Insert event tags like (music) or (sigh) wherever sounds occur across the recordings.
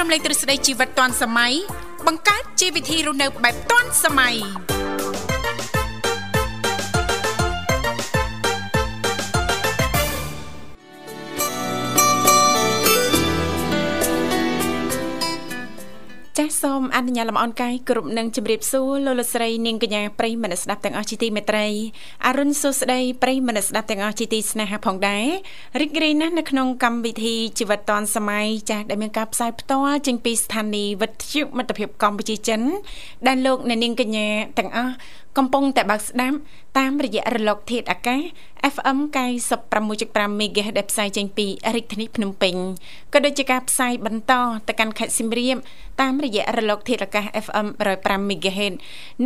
រំលែកទ្រឹស្ដីជីវិតទាន់សម័យបង្កើតជីវវិធីរស់នៅបែបទាន់សម័យចាសសូមអនុញ្ញាតលំអរកាយគ្រប់នឹងជម្រាបសួរលោកលោកស្រីនាងកញ្ញាប្រិយមនស្សស្ដាប់ទាំងអស់ជាទីមេត្រីអរុនសុស្ដីប្រិយមនស្សស្ដាប់ទាំងអស់ជាទីស្នេហាផងដែររីករាយណាស់នៅក្នុងកម្មវិធីជីវិតឌွန်សម័យចាស់ដែលមានការផ្សាយផ្ទាល់ចេញពីស្ថានីយ៍វិទ្យុមិត្តភាពកម្ពុជាចិន ដែលលោកអ្នកនាងកញ្ញាទាំងអស់កំពុងតែបើកស្ដាប់តាមរយៈរលកធាតុអាកាស FM 96.5 MHz ដែលផ្សាយចេញពីរាជធានីភ្នំពេញក៏ដូចជាការផ្សាយបន្តទៅកាន់ខេត្តសៀមរាបតាមរយៈរលកធាតុអាកាស FM 105 MHz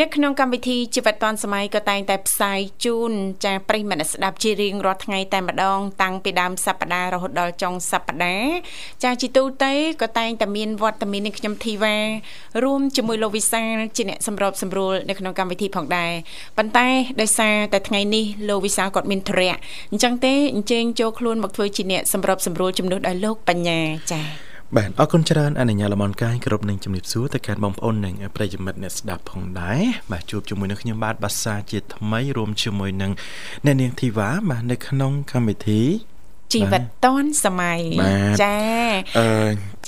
នៅក្នុងកម្មវិធីជីវិតឌွန်សម័យក៏តែងតែផ្សាយជូនចាស់ប្រិយមិត្តអ្នកស្ដាប់ជារៀងរាល់ថ្ងៃតែម្ដង តាំងពីដើមសប្ដាហ៍រហូតដល់ចុងសប្ដាហ៍ចាស់ជីទូទៅក៏តែងតែមានវត្តមាននឹងខ្ញុំធីវ៉ារួមជាមួយលោកវិសាលជាអ្នកសម្របសម្រួលនៅក្នុងកម្មវិធីផងដែរប៉ុន្តែដោយសារតែថ្ងៃនេះលោកវិសាលគាត់មានធរៈអញ្ចឹងទេអញ្ជើញចូលខ្លួនមកធ្វើជាអ្នកសម្របសម្រួលជំនួសដោយលោកបញ្ញាចា៎ បាទអរគុណច្រើនអនុញ្ញាតលំអរកាយគ្រប់នឹងជំរាបសួរទៅកាន់បងប្អូននិងប្រិយមិត្តអ្នកស្ដាប់ផងដែរបាទជួបជាមួយនឹងខ្ញុំបាទបាសាជាថ្មីរួមជាមួយនឹងអ្នកនាងធីវ៉ាបាទនៅក្នុងកម្មវិធី ជីវិតតនសម័យ បាទ ចា អឺ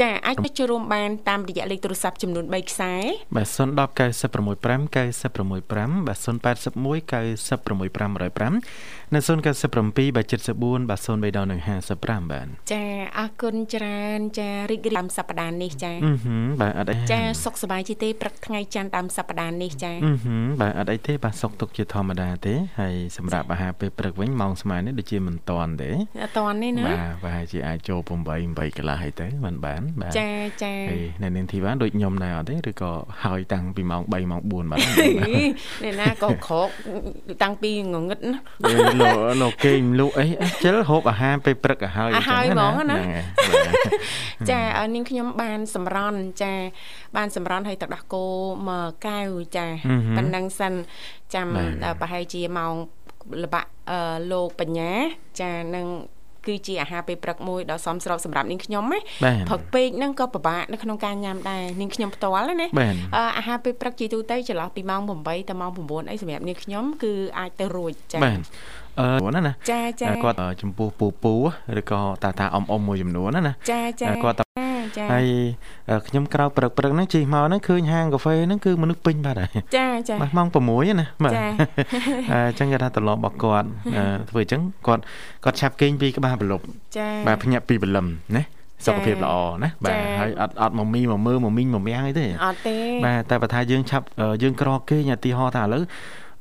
ចាអាចចូលរួមបានតាមរយៈលេខទូរស័ព្ទចំនួន3ខ្សែ បាទ010 965 965បាទ081 965 និង097បាទ74បាទ03និង55បាទ ចាអរគុណច្រើនចារីករាយតាមសប្តាហ៍នេះចា អឺហឹមបាទអត់អី ចាសុខសប្បាយជាទេព្រឹកថ្ងៃច័ន្ទតាមសប្តាហ៍នេះចា អឺហឹមបាទអត់អីទេបាទសុកទុកជាធម្មតាទេហើយសម្រាប់អាហារពេលព្រឹកវិញម៉ោងស្មើនេះដូចជាមិនតាន់ទេ អត់តន់នេះណា បាទប្រហែលជាអាចចូល8 8កន្លះអីទៅមិនបានបាទ ចាចា ហើយអ្នកនាងធីវ៉ាដូចខ្ញុំដែរអត់ទេឬក៏ហើយតាំងពីម៉ោង3ម៉ោង4បាទ (laughs) អ្នកណាក៏ក្រោកតាំងពីងងឹតណា អេលោកលោកគេងលក់អីអេជិលហូបអាហារពេលព្រឹកឲ្យហើយ ឲ្យហើយហ្មងណា ហ្នឹងហើយ (laughs) ចាឲ្យនាងខ្ញុំបានសម្រន់ចាបានសម្រន់ឲ្យទឹកដោះគោមួយកែវចាប៉ុណ្ណឹងសិនចាំដល់ប្រហែលជាម៉ោងល្បាក់អឺលោកបញ្ញា ចានឹងគឺជាអាហារពេលព្រឹកមួយដ៏សមស្របសម្រាប់នាងខ្ញុំណា បាទ ព្រឹកពេកហ្នឹងក៏ពិបាកនៅក្នុងការញ៉ាំដែរនាងខ្ញុំផ្ទាល់ណា បាទ អឺអាហារពេលព្រឹកជាទូទៅចន្លោះពីម៉ោង8ដល់ម៉ោង9អីសម្រាប់នាងខ្ញុំគឺអាចទៅរួចចា បាទអឺហ្នឹងណា ចាចា គាត់អឺចំពោះពូពូឬក៏តាតាអ៊ំអ៊ំមួយចំនួនណាណា ចាចា គាត់ត ចា ហើយអឺខ្ញុំក្រោកព្រឹកព្រឹកហ្នឹងជិះមកហ្នឹងឃើញហាងកាហ្វេហ្នឹងគឺមនុស្សពេញបាត់ហើយ ចាចា បាទម៉ោង6ណាបាទ ចា អញ្ចឹងគេថាត្រឡប់របស់គាត់អឺធ្វើអញ្ចឹងគាត់គាត់ឆាប់គេងពីក្បាលប្រឡប់ ចា បាទភញាក់ពីព្រលឹមណាសុខភាពល្អណាបាទ ចា៎ ហើយអត់អត់មកមីមកមើលមកមីងមកមៀងអីទេ អត់ទេ បាទតែបើថាយើងឆាប់អឺយើងក្រគេងឧទាហរណ៍ថាឥឡូវ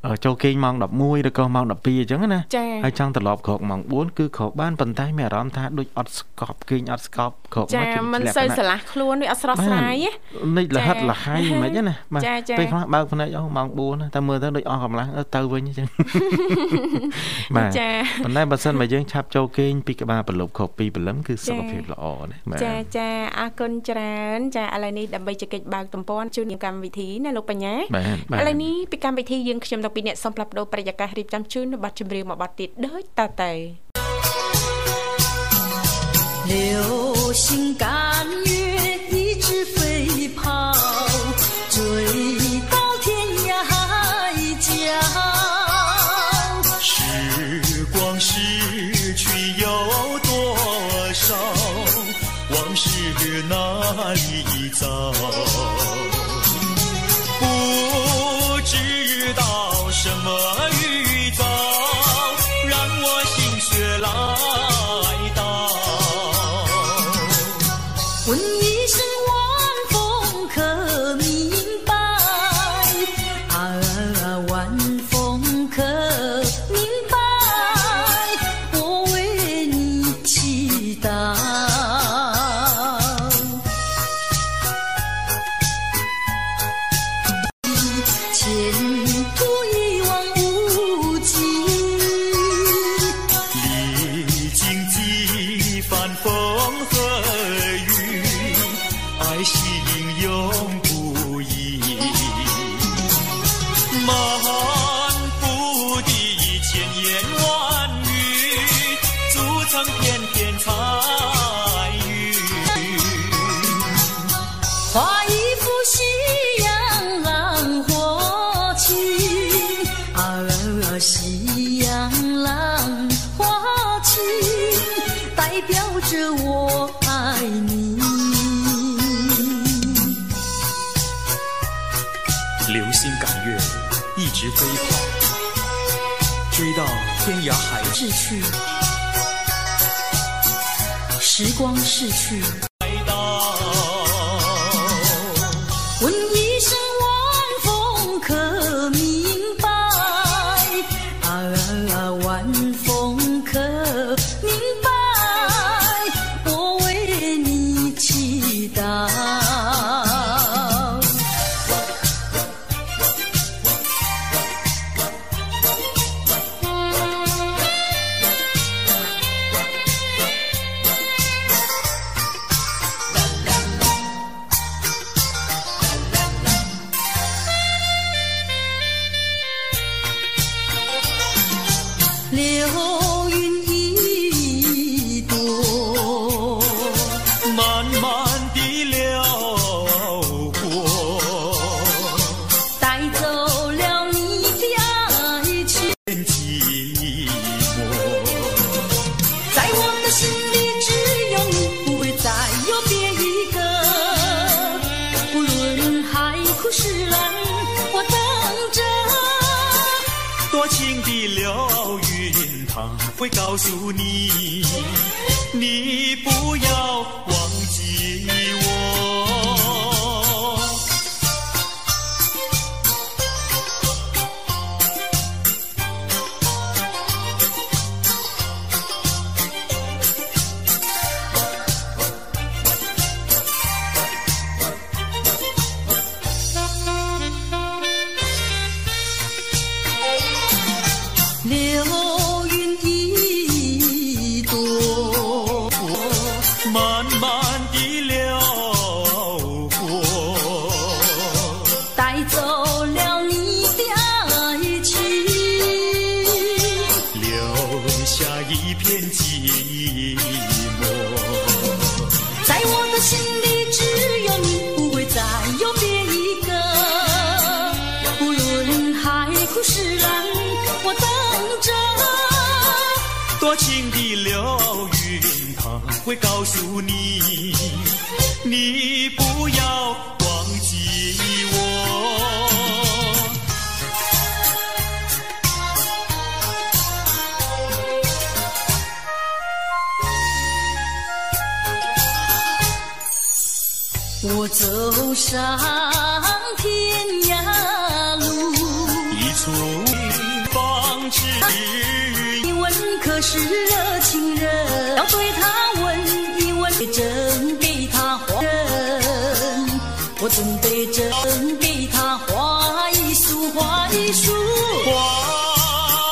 អឺចូលគេងម៉ោង11ឬក៏ម៉ោង12អញ្ចឹងណា ចា ហើយចង់ត្រឡប់ក្រោកម៉ោង4គឺក្រោកបានប៉ុន្តែមានអារម្មណ៍ថាដូចអត់ស្កប់គេងអត់ស្កប់ក្រោក ចា មកជា មិន លក្ខ សូវ ណៈ ស្រឡះខ្លួនវាអត់ស្រស់ស្រាយទេ នេះលហិត ចា៎ លហៃមិនហ្នឹងណាបាទ ចា៎ចា៎ ពេលខ្លះបើកភ្នែកអស់ម៉ោង4ណាតែមើលទៅដូចអស់កម្លាំងអឺទៅវិញអញ្ចឹង បាទ ចា ប៉ុន្តែបើសិនបើយើងឆាប់ចូលគេងពីក្បាលប្រឡប់ខុសពីព្រលឹមគឺសុខភាពល្អណាបាទ ចាចាអរគុណច្រើនចាឥឡូវនេះដើម្បីជែកិច្ចបើកទំព័រជូននាងកម្មវិធីណាលោកបញ្ញា បាទបាទ ឥឡូវនេះពីកម្មវិធីយើងខ្ញុំទៅពីរអ្នកសំផ្លាប់ដោប្រយាកាសរៀបចំជូននៅប័ណ្ណចម្រៀងមួយប័ណ្ណទៀតដូចតទៅ 流星赶月，一直飞跑，追到天涯海角。时光逝去有多少？往事哪里找？不知道什么预兆，让我心血来到。问一声晚风可明白？啊啊，晚风可明白？我为你祈祷。前途一望无际。历经几番风和雨，爱情永不移。漫步的千言万语，组成片片彩云。代表着我爱你。流星赶月，一直飞跑，追到天涯海角。逝去，时光逝去，来到，问一声晚风可明白？啊啊，晚风可明白？我为你祈祷。流云一朵，慢慢地流过，带走了你的爱情。变寂寞。在我的心里只有你，不会再有别一个。无论海枯石烂，我等着。多情的流云，它会告诉你，你不要忘记我。流云一朵，慢慢地流过，带走了你的爱情。留下一片寂寞。在我的心里只有你，不会再有别一个。无论海枯石烂，我等着。多情的流云，它会告诉你，你不要忘记我。我走上天涯路，一处方知音你问可是热情人？要对他问一问，真给他还人，我准备真给他画一束画一束。花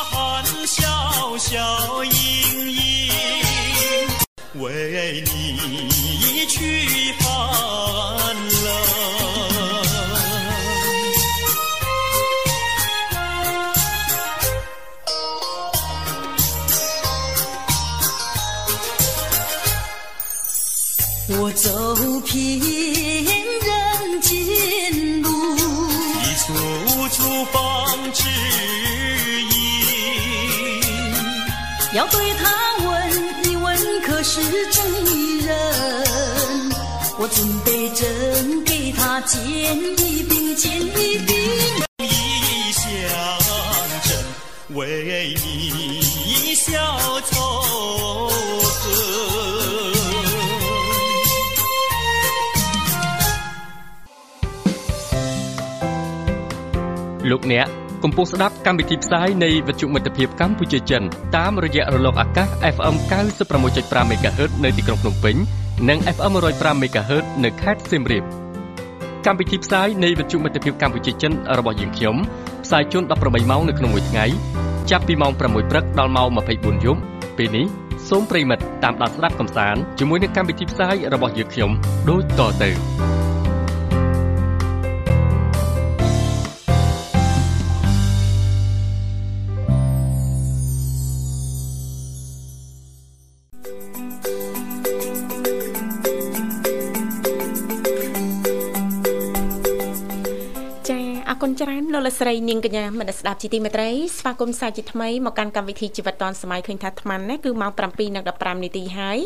含笑笑盈盈，为你去寒冷。我走遍人间路，一处处方知音，要对他问一问，可是真一人，我准备针给他煎一饼，煎一饼。一相枕为你消愁恨。 លោកអ្នកកំពុងស្ដាប់កម្មវិធីផ្សាយនៃវិទ្យុមិត្តភាពកម្ពុជាចិនតាមរយៈរលកអាកាស FM 96.5 MHz នៅទីក្រុងភ្នំពេញនិង FM 105 MHz នៅខេត្តសៀមរាបកម្មវិធីផ្សាយនៃវិទ្យុមិត្តភាពកម្ពុជាចិនរបស់យើងខ្ញុំផ្សាយជូន18ម៉ោងនៅក្នុងមួយថ្ងៃចាប់ពីម៉ោង6ព្រឹកដល់ម៉ោង24យប់ពេលនេះសូមប្រិយមិត្តតាមដានស្ដាប់កំសាន្តជាមួយនឹងកម្មវិធីផ្សាយរបស់យើងខ្ញុំដូចតទៅ ចាអរគុណ គុណច្រើនលោកលកស្រីនាងកញ្ញាមនស្សស្ដាប់ជីទីមេត្រីស្វាគមន៍សាជាថ្មីមកកាន់កម្មវិធីជីវិតឌွန်សម័យឃើញថាអាត្មានេះគឺម៉ោង7:15នាទីហើយ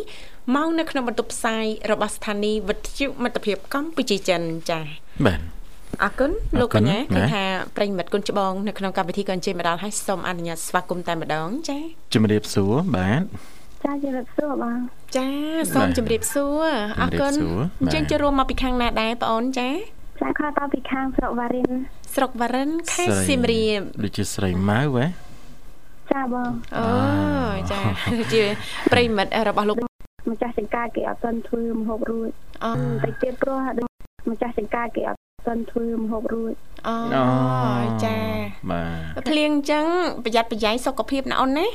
ម៉ោងនៅក្នុងបន្ទប់ផ្សាយរបស់ស្ថានីយ៍វិទ្យុមិត្តភាពកម្ពុជាចិនចា៎ បាទ អរគុណលោកកញ្ញា អរគុណ គឺ ណា ថាប្រិញ្ញមិត្តគុណច្បងនៅក្នុងកម្មវិធីក៏អញ្ជើញមកដល់ហើយសូមអនុញ្ញាតស្វាគមន៍តែម្ដងចា ជំរាបសួរបាទ ចាជម្រាបសួរបង ចាសូម បាទ ជម្រាបសួរអរគុណ ជម្រាបសួរ អញ្ចឹង បាទ ចូលរួមមកពីខាងណាដែរបងអូនចា ចាខតតពីខាងស្រុកវ៉ារិន ស្រុកវ៉ារិនខេត្តសៀមរាប ដូចជាស្រីម៉ៅហ៎ ចាបង អូចា (laughs) ជាប្រិញ្ញមិត្តរបស់លោកម្ ចាស់ចង្ការគេអត់ទាន់ធ្វើមហូបរួច អូ តែទៀតព្រោះដូចម្ចាស់ចង្ការគេអត់ទាន់ធ្វើមហូបរួច អូចា បាទ ភ្លៀងអញ្ចឹងប្រយ័ត្នប្រយែងសុខភាពណាអូនណា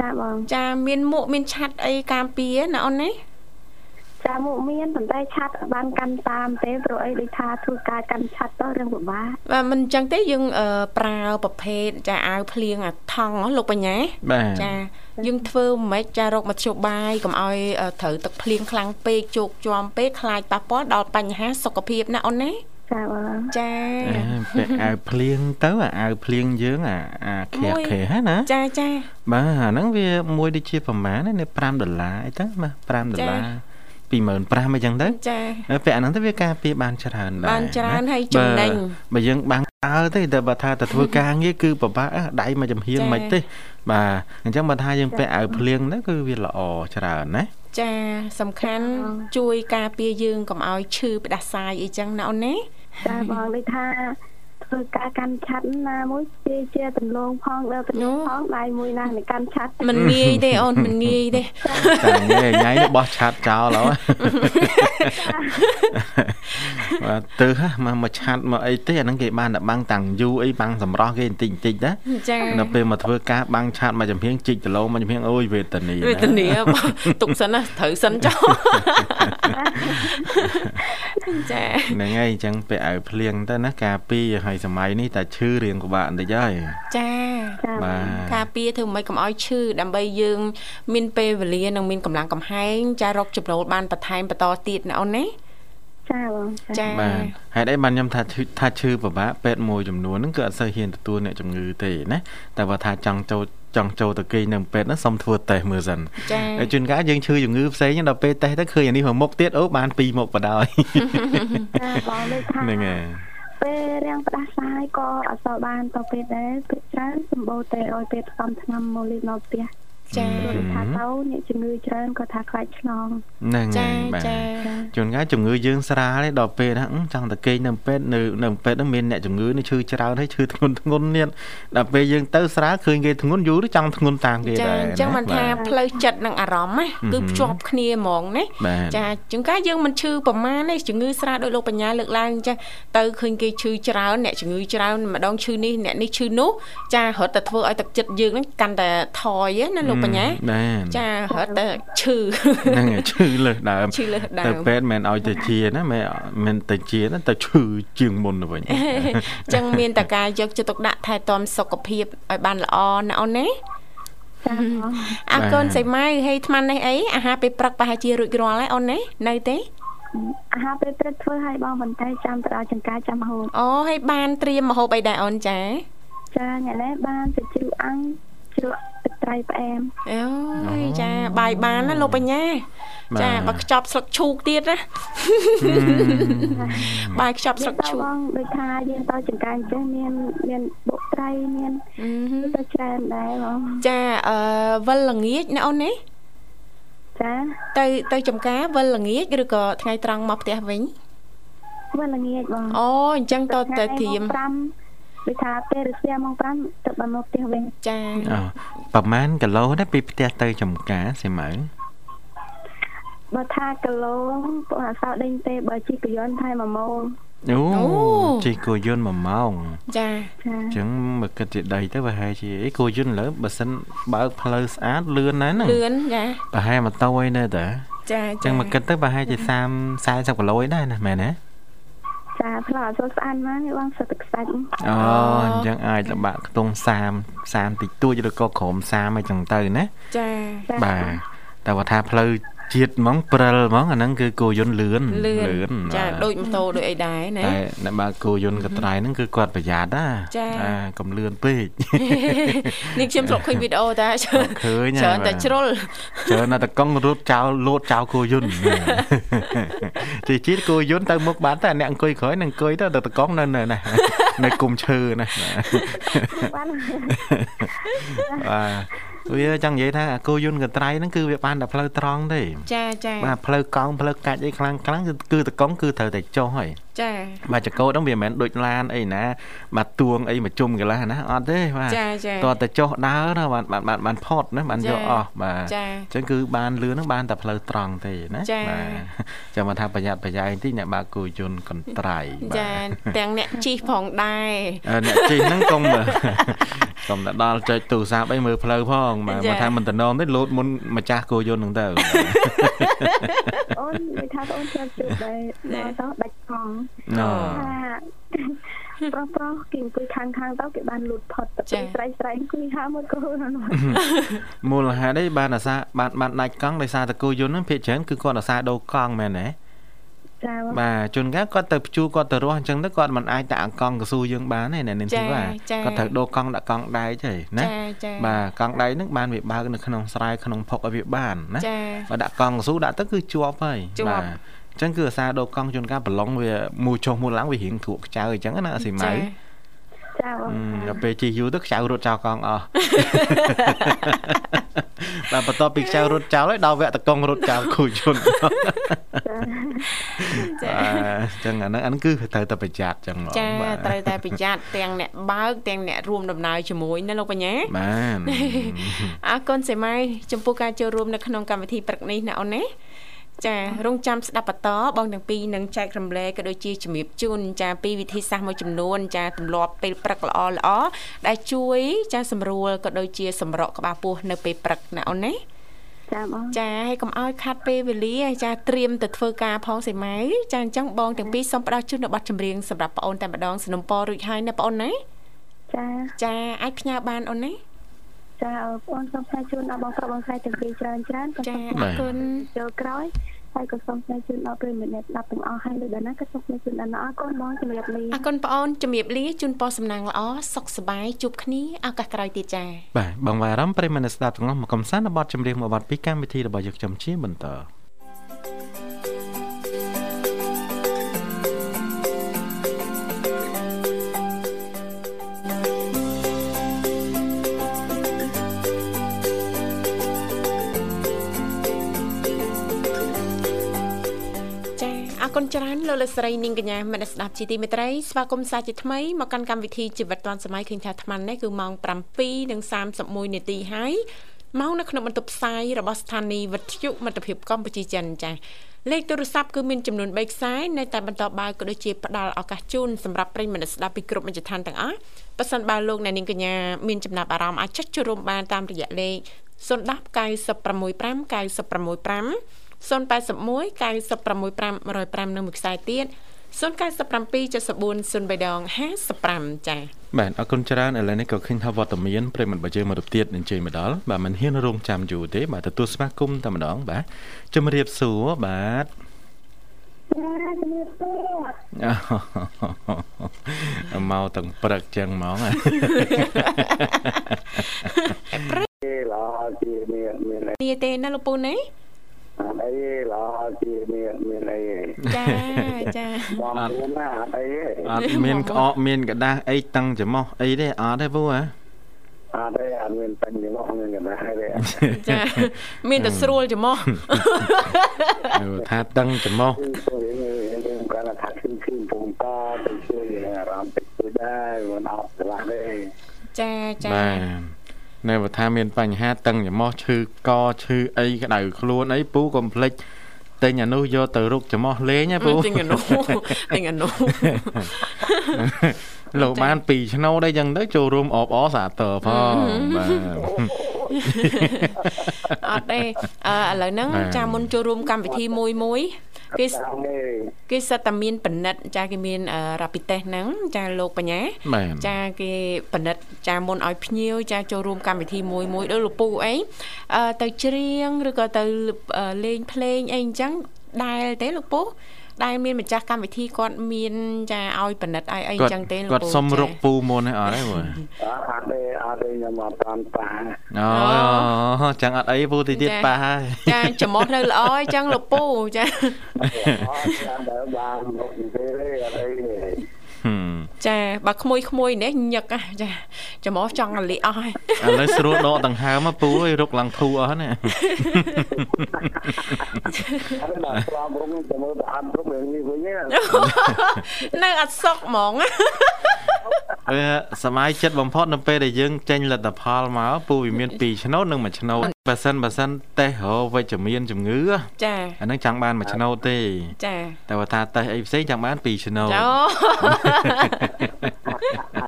ចាបង ចាមានមួកមានឆ័ត្រអីការពារណាអូនណា ចាមុខមានប៉ុន្តែឆាត់បានកាន់តាមទេព្រោះអីដូចថាធ្វើការកាន់ឆាត់ទៅរឿងពិបាក បាទមិនអញ្ចឹងទេយើងអឺប្រើប្រភេទចាអាវភ្លៀងអាថង់ហ៎លោកបញ្ញា បាទ ចាយើងធ្វើមិនម៉េចចារកមធ្យោបាយកុំឲ្យអឺត្រូវទឹកភ្លៀងខ្លាំងពេកជោកជាំពេកខ្លាចប៉ះពាល់ដល់បញ្ហាសុខភាពណាអូនណា ចាបង ចា អេពាក់អាវភ្លៀងទៅអាអាវភ្លៀងយើងអាអាខែខែហ្នឹងណា ចាចា បាទអាហ្នឹងវាមួយដូចជាប្រហែលណា5ដុល្លារអីទៅបាទ5ដុល្លារ25000អីចឹងទៅ ចា ហើយពាក់អាហ្នឹងទៅវាការពារបានច្រើនដែរ បានច្រើន ណា ហើយចំណេញ បាទបើយើងបាំងអើទេតែបើថាទៅធ្វើការងារគឺពិបាកណាស់ដៃមកចំហៀង ចា មិនទេបាទអញ្ចឹងបើថាយើងពាក់អាវភ្លៀងហ្នឹងគឺវាល្អច្រើន (laughs) ណា ចាសំខាន់ជួយការពារយើងកុំឲ្យឈឺផ្ដាសាយអីចឹងណាអូន (laughs) ណា ចាបងដូចថាធ្វើការកាន់ឆាត់ណាមួយជាជាដំឡូងផងដល់ដំឡូងផងដៃមួយណានៃកាន់ឆាត់ មិនងាយទេ (laughs) អូនមិនងាយទេ តែងាយញ៉ៃបោះឆាតចោ (laughs) លហើយ បាទទៅហ่ะមកមកឆាត់មកអីទេអាហ្នឹងគេបានតែបាំងតាំងយូរអីបាំងសម្រស់គេបន្តិចបន្តិចណា ចា នៅពេលមកធ្វើការបាំងឆាត់មកចំហៀងជីកដលោមកចំហៀងអូយវេទនី វេទនាបងទុកសិនណាត្រូវសិនចុះ (laughs) ចា ហ្នឹងហើយអញ្ចឹងពាក់អាវភ្លៀងទៅណាការពីរហើយសម័យនេះតែឈឺរៀងក្បាលបន្តិចហើយ ចា ចាបង បាទ ការពារធ្វើមិនកុំឲ្យឈឺដើម្បីយើង មានពេលវេលានិងមានកម្លាំងកំហែងចារកចំណូលបានបន្ថែមបន្តទៀតណាអូនណា ចាបងចា ចា បាទហេតុអីបានខ្ញុំថាឈឺថាឈឺពិបាកពេទ្យមួយចំនួនហ្នឹងគឺអត់សូវហ៊ានទទួលអ្នកជំងឺទេណាតែបើថាចង់ចូលចង់ចូលទៅគេងនៅពេទ្យហ្នឹងសុំធ្វើតេស្តមើលសិន ចា ហើយជួនកាលយើងឈឺជំងឺផ្សេងដល់ពេលតេស្តទៅឃើញអានេះមួយមុខទៀតអូបានពីរមុខបដ ாய் (laughs) ចាបងដូចថា ហ្នឹងហើយ ពេលរាំងផ្ដាសាយក៏អត់សូវបានទៅពេទ្យដែរពេលច្រើនសម្បូរតែឲ្យពេទ្យផ្សំឆ្នាំមកលេបមកផ្ទះ ចា ព្រោះដូចថាទៅអ្នកជំងឺច្រើនក៏ថាខ្លាចឆ្លង ហ្នឹង ចា ហើយបាទ ចា ជួនកាលជំងឺយើងស្រាលទេដល់ពេលហ្នឹងអឺចង់តែគេងនៅពេទ្យនៅនៅពេទ្យហ្នឹងមានអ្នកជំងឺនេះឈឺច្រើនហើយឈឺធ្ងន់ធ្ងន់ទៀតដល់ពេលយើងទៅស្រាលឃើញគេធ្ងន់យូរទៅចង់ធ្ងន់តាមគេ ចា ដែរ អញ្ចឹង ណា មិនថា បាទ ផ្លូវចិត្តនិងអារម្មណ៍ណាគឺ ហឹម ភ្ជាប់គ្នាហ្មងណា បាទ ចាជួនកាលយើងមិនឈឺប្រមាណទេជំងឺស្រាលដោយលោកបញ្ញាលើកឡើងចាទៅឃើញគេឈឺច្រើនអ្នកជំងឺច្រើនម្ដងឈឺនេះអ្នកនេះឈឺនោះចារត់តែធ្វើឲ្យទឹកចិត្តយើងហ្នឹងកាន់តែថយណាលោកបញ្ញា បាទ ចារត់តែឈឺ (laughs) ហ្នឹងហើយឈឺលើសដើម ឈឺលើសដើម ទៅពេទ្យមិនឲ្យទៅជាណាមិនមិនទៅជាណាទៅឈឺជាងមុនទៅវិញ (laughs) ចឹងមាន (laughs) តែការយកចិត្តទុកដាក់ថែទាំសុខភាពឲ្យបានល្អណាអូនណា ចាបង អរគុណ បាទ សីម៉ៅហើយថ្មនេះអីអាហារពេលព្រឹកប្រហែលជារួចរាល់ហើយអូនណានៅទេ អាហារពេលព្រឹកធ្វើឲ្យបងបន្តែចាំទៅដល់ចង្ការចាំហូប អូហើយបានត្រៀមម្ហូបអីដែរអូនចា ចាអ្នកនេះបានទៅជ្រក់អាំងជ្រក់ទឹកត្រីផ្អែម អូយចាបាយបានណាលោកបញ្ញា បាទ ចាបើខ្ចប់ស្លឹកឈូកទៀតណាបាយខ្ចប់ស្លឹក ទៅ ឈូក បងដូចថាយើងទៅចង្ការអញ្ចឹងមានមានបុកត្រីមាន អឺហ ទៅច្រើនដែរបឹងមចាអឺវិលល្ងាចណាអូនណា ចា ទៅទៅចំការវិលល្ងាចឬក៏ថ្ងៃត្រង់មកផ្ទះវិញ ធ្វើល្ងាចបង អូអញ្ចឹងតតើធៀម ថ្ងៃម៉ោង5ដូចថាពេលរសៀលម៉ោង5ទៅបានមកផ្ទះវិញ ចា អូប្រហែលគីឡូណាពីផ្ទះទៅចំការសីម៉ៅ បើថាគីឡូពួកអសរដេញទេបើជិះកយន្តថែ1ម៉ោង អូ អូ ជិះគោយន្ត1ម៉ោង ចា ចា អញ្ចឹងមកគិតជាដីទៅប្រហែលជាអីគោយន្តលើបើសិនបើកផ្លូវស្អាតលឿនណាស់ហ្នឹង លឿនចា ប្រហែលម៉ូតូឯនៅតា ចា អញ្ចឹងមកគិតទៅប្រហែលជា30 40គីឡូឯដែរណាមែនទេ ចាផ្លោះអសរស្អាតណាស់នេះបងសិតទឹកខ្សាច់ អូអញ្ចឹងអាចលំបាកខ្ទង់30 30តិចតួចឬក៏ក្រោម30អីចឹងទៅណា ចា ចា បាទតែបើថាផ្លូវ ជាតិហ្មងព្រិលហ្មងអាហ្នឹងគឺគោយន្តលឿន លឿនចា បាទ ដូចម៉ូតូដូចអីដែរណា តែអ្នកបើកគោយន្តកត្រៃហ្នឹងគឺគាត់ប្រយ័ត្នណា ចា អាកុំលឿនពេក នេះខ្ញុំធ្លាប់ឃើញវីដេអូតា ឃើញហើយ ច្រើនតែ បាទ ជ្រុល ច្រើនណាស់តែកង់រត់ចោលលោតចោលគោយន្ត ជីជាតិគោយន្តទៅមុខបានតែអ្នកអង្គុយក្រោយនឹងអង្គុយទៅតែតកង់នៅនៅ (laughs) ណា នៅគុំឈើណា បាន បាទវាចង់និយាយថាអាគោយន្តកត្រៃហ្នឹងគឺវាបានតែផ្លូវត្រង់ទេ ចាចា បាទផ្លូវកង់ផ្លូវកាច់អីខ្លាំងខ្លាំងៗគឺគឺតកង់គឺត្រូវតែចុះហើយ ចា បាទចកោតហ្នឹងវាមិនមែនដូចឡានអីណាបាទទួងអីមកជុំកន្លះណាអត់ទេបាទ ចាចា តោះតែចុះដើរណាបានបានបានបានផត់ណាបាន ចា យកអស់បាទ ចា អញ្ចឹងគឺបានលឿនហ្នឹងបានតែផ្លូវត្រង់ទេណា ចា ទ (laughs) ចាំមកថាប្រយ័ត្នប្រយែងតិចអ្នកបើកគោយន្តកន្ត្រៃបាទ ចាទាំងអ្នកជិះផងដែរ អឺអ្នកជិះហ្នឹងកុំ (laughs) កុំតែដល់ចុចទូរស័ព្ទអីមើលផ្លូវផងបាទ ចា មកថាមិនតំណងទេលោតមុនម្ចាស់គោយ (laughs) ន្តហ្នឹងទៅ អូននិយាយថាអូនចូលជួបដែរមកទៅដាច់ផង ណ៎ ថាប្រុសប្រុសគេអង្គុយខាងខាងៗទៅគេបានលូតផុតតែ ចា ពេលស្រីស្រីអង្គុយហៅមួយកូនហ្នឹង (laughs) មូលហេតុអីបានអាសាបានបានដាច់កង់ដោយសារតែគោយន្តហ្នឹងភាគច្រើនគឺគាត់អាសាដោកង់មែនទេ ចា បាទជួនកាលគាត់ទៅព្យួរគាត់ទៅរស់អញ្ចឹងទៅគាត់មិនអាចដាក់អង្កង់កស៊ូយើងបានទេអ្នកនាង ចា ធីវ៉ា ចា គាត់ត្រូវដូរកង់ដាក់កង់ដែកទេណា ចាចា បាទកង់ដែកហ្នឹងបានវាបើកនៅក្នុងស្រែក្នុងភុកឲ្យវាបានណា ចា បើដាក់កង់កស៊ូដាក់ទៅគឺជាប់ហើយ ជាប់ បាទអញ្ចឹងគឺអាសាដូរកង់ជួនកាលប្រឡងវាមូលចុះមូលឡើងវារៀងធក់ខ្ចៅអញ្ចឹងណាអាស៊ីម៉ៅ ចាបអងឺដល់ពេលជិះយូរទៅខ្ចៅរត់ចោលកង់អ (laughs) ស់ បាទបន្ទាប់ពីខ្ចៅរត់ចោលហើយដល់វគ្គតកង់រត់ចោលគូជន (laughs) ចា អញ្ចឹងអាហ្នឹងអាហ្នឹងគឺត្រូវតែប្រយ័ត្នអញ្ចឹងហ្មង ចា បាទ ត្រូវតែ (laughs) ប្រយ័ត្នទាំងអ្នកបើកទាំងអ្នករួមដំណើរជាមួយណាលោកបញ្ញា បាន (laughs) អរគុណសេម៉ៃចំពោះការចូលរួមនៅក្នុងកម្មវិធីព្រឹកនេះណាអូនណាចារងចាំស្ដាប់បន្តបងទាំងពីរនឹងចែករំលែកក៏ដូចជាជំរាបជូនចាពីវិធីសាស្ត្រមួយចំនួន ចាទម្លាប់ពេលព្រឹកល្អល្អៗដែលជួយ ចាសម្រួលក៏ដូចជាសម្រកក្បាលពោះនៅពេលព្រឹកណាអូនណា ចាបង ចាហើយកុំឲ្យខាត់ពេលវេលាចាត្រៀមទៅធ្វើការផងសេម៉ៅចាអញ្ចឹងបងទាំងពីរសូមផ្ដល់ជូននៅប័ណ្ណចម្រៀងសម្រាប់បងអូនតែម្ដងสนុំពររួចហើយណាបងអូនណា ចា ចាអាចផ្ញើបានអូនណា ចាបងសូមផ្សាយជូនដល់បងប្រុសបងស្រីទាំងពីរច្រើនច្រើនក៏ ចា សូម អរគុណ ចូលក្រោយហើយក៏សូមផ្សាយជូនដល់ប្រិយមិត្តអ្នកស្ដាប់ទាំងអស់ហើយលោកដាណាក៏សូមផ្សាយជូនដល់អ្នកអរគុណបងជំរាបលា អរគុណបងអូនជំរាបលាជូនពរសំណាងល្អសុខសប្បាយជួបគ្នាឱកាសក្រោយទៀតចា បាទបងបារម្ភប្រិយមនស្សស្ដាប់ទាំងអស់មកកំសាន្តនៅបទចម្រៀងមួយបទពីកម្មវិធីរបស់យើងខ្ញុំជាបន្ត ចាអរគុណច្រើនលោកលកស្រីនាងកញ្ញាមនស្សស្ដាប់ជីទីមេត្រីស្វាគមន៍សាជាថ្មីមកកាន់កម្មវិធីជីវិតឌွန်សម័យឃើញថាអាត្មានេះគឺម៉ោង7:31នាទីហើយមកនៅក្នុងបន្ទប់ផ្សាយរបស់ស្ថានីយ៍វិទ្យុមិត្តភាពកម្ពុជាចិនចាលេខទូរស័ព្ទគឺមានចំនួន3ខ្សែនៅតែបន្តបើកក៏ដូចជាផ្ដល់ឱកាសជូនសម្រាប់ប្រិយមិត្តអ្នកស្ដាប់ពីគ្រប់មជ្ឈដ្ឋានទាំងអស់ប៉ះសិនបើលោកអ្នកនាងកញ្ញាមានចំណាប់អារម្មណ៍អាចចុចចូលរួមបានតាមរយៈលេខ010965965 081965105និងមួយខ្សែទៀត0977403055ចា៎ បាទអរគុណច្រើនឥឡូវនេះក៏ឃើញថាវត្តមានប្រិយមនស្សរបស់យើងមករូបទៀតនឹងជើញមកដល់បាទមិនហ៊ានរងចាំយូរទេបាទទទួលស្វាគមន៍តែម្ដងបាទជំរាបសួរ (laughs) បាទអូមកទាំងព្រឹកចឹងហ្មងហ៎ នេះទេណាលោកពូណា អត់អីទេល្អជាមានមានអីទេ ចា (laughs) ចា បងមានណាអត់អីទេ អត់មានក្អកមានកដាស់អីតឹងច្រមុះអីទេអត់ទេពូហ៎ អត់ទេអត់មានពេញទេបងមានកណ្ដាស់ទេ ចាមានតែស្រួលច្មោះ ហៅថាតឹងច្រមុះ គឺព្រោះយើងយើងគាត់ថាគឺគឺពងតាទៅជួយអារម្មណ៍តិចតួចដែរមិនអត់ស្រឡះទេ ចាចា បាទនៅបើថាមានបញ្ហាតឹងច្រមុះឈឺកឈឺអីក្តៅខ្លួនអីពូកុំភ្លេចទិញអានោះយកទៅរុកច្រមុះលេងណាពូ ទិញអ (laughs) នុទិញអនុ លោកបាន2ឆ្នាំដែរចឹងទៅចូលរួមអបអរសាទរផងបាទ អត់ទេអឺឥឡូវហ្នឹងចាមុនចូលរួមកម្មវិធីមួយមួយ គេ អត់ទេ គេសិតតែមានបណិតចាគេមានរ៉ាពីតេសហ្នឹងចាលោកបញ្ញា បាទ ចាគេបណិតចាមុនឲ្យភ្ញៀវចាចូលរួមកម្មវិធីមួយមួយដូចលោកពូអីអឺទៅច្រៀងឬក៏ទៅអឺលេងភ្លេងអីអញ្ចឹងដែលទេលោកពូដែលមានម្ចាស់កម្មវិធីគាត់មានចាឲ្យបណិតឲ្យអីអញ្ចឹងទេលោកពូ គាត់សុំ ចា រុកពូមុនឯអត់ទេមើល អត់ទេអត់ទេខ្ញុំអត់តាន់តា អូចឹងអត់អីពូតិចទៀត ចា ប៉ះហើយ ចាចំមុះនៅល្អអញ្ចឹងលោកពូចា អត់ចាំដល់បានមកនិយាយទេអត់អីទេ ហឹម ចាបើក្មួយក្មួយៗនេះញឹកណាស់ចាចំមុះចង់រលីអស់ហើយ ឥឡូវស្រួលដកដង្ហើមហ៎ពូអើយរុកឡើងធូរអស់ហ្នឹងណា អត់ដល់ស្រាប់រុំចាំមើលអត់រុំរឿងនេះវិញណា នៅអត់សុកហ្មង វាសមាជិកបំផុតនៅពេលដែលយើងចេញលទ្ធផលមកពូវាមាន2ឆ្នោតនិង1ឆ្នោតបើសិនបើសិនតេស្តរកវិជ្ជមានជំងឺហ៎ ចា អាហ្នឹងចង់បាន1ឆ្នោតទេ ចា (laughs) តែបើថាតេស្តអីផ្សេងច (laughs) ង់បាន2ឆ្នោត អូ (laughs)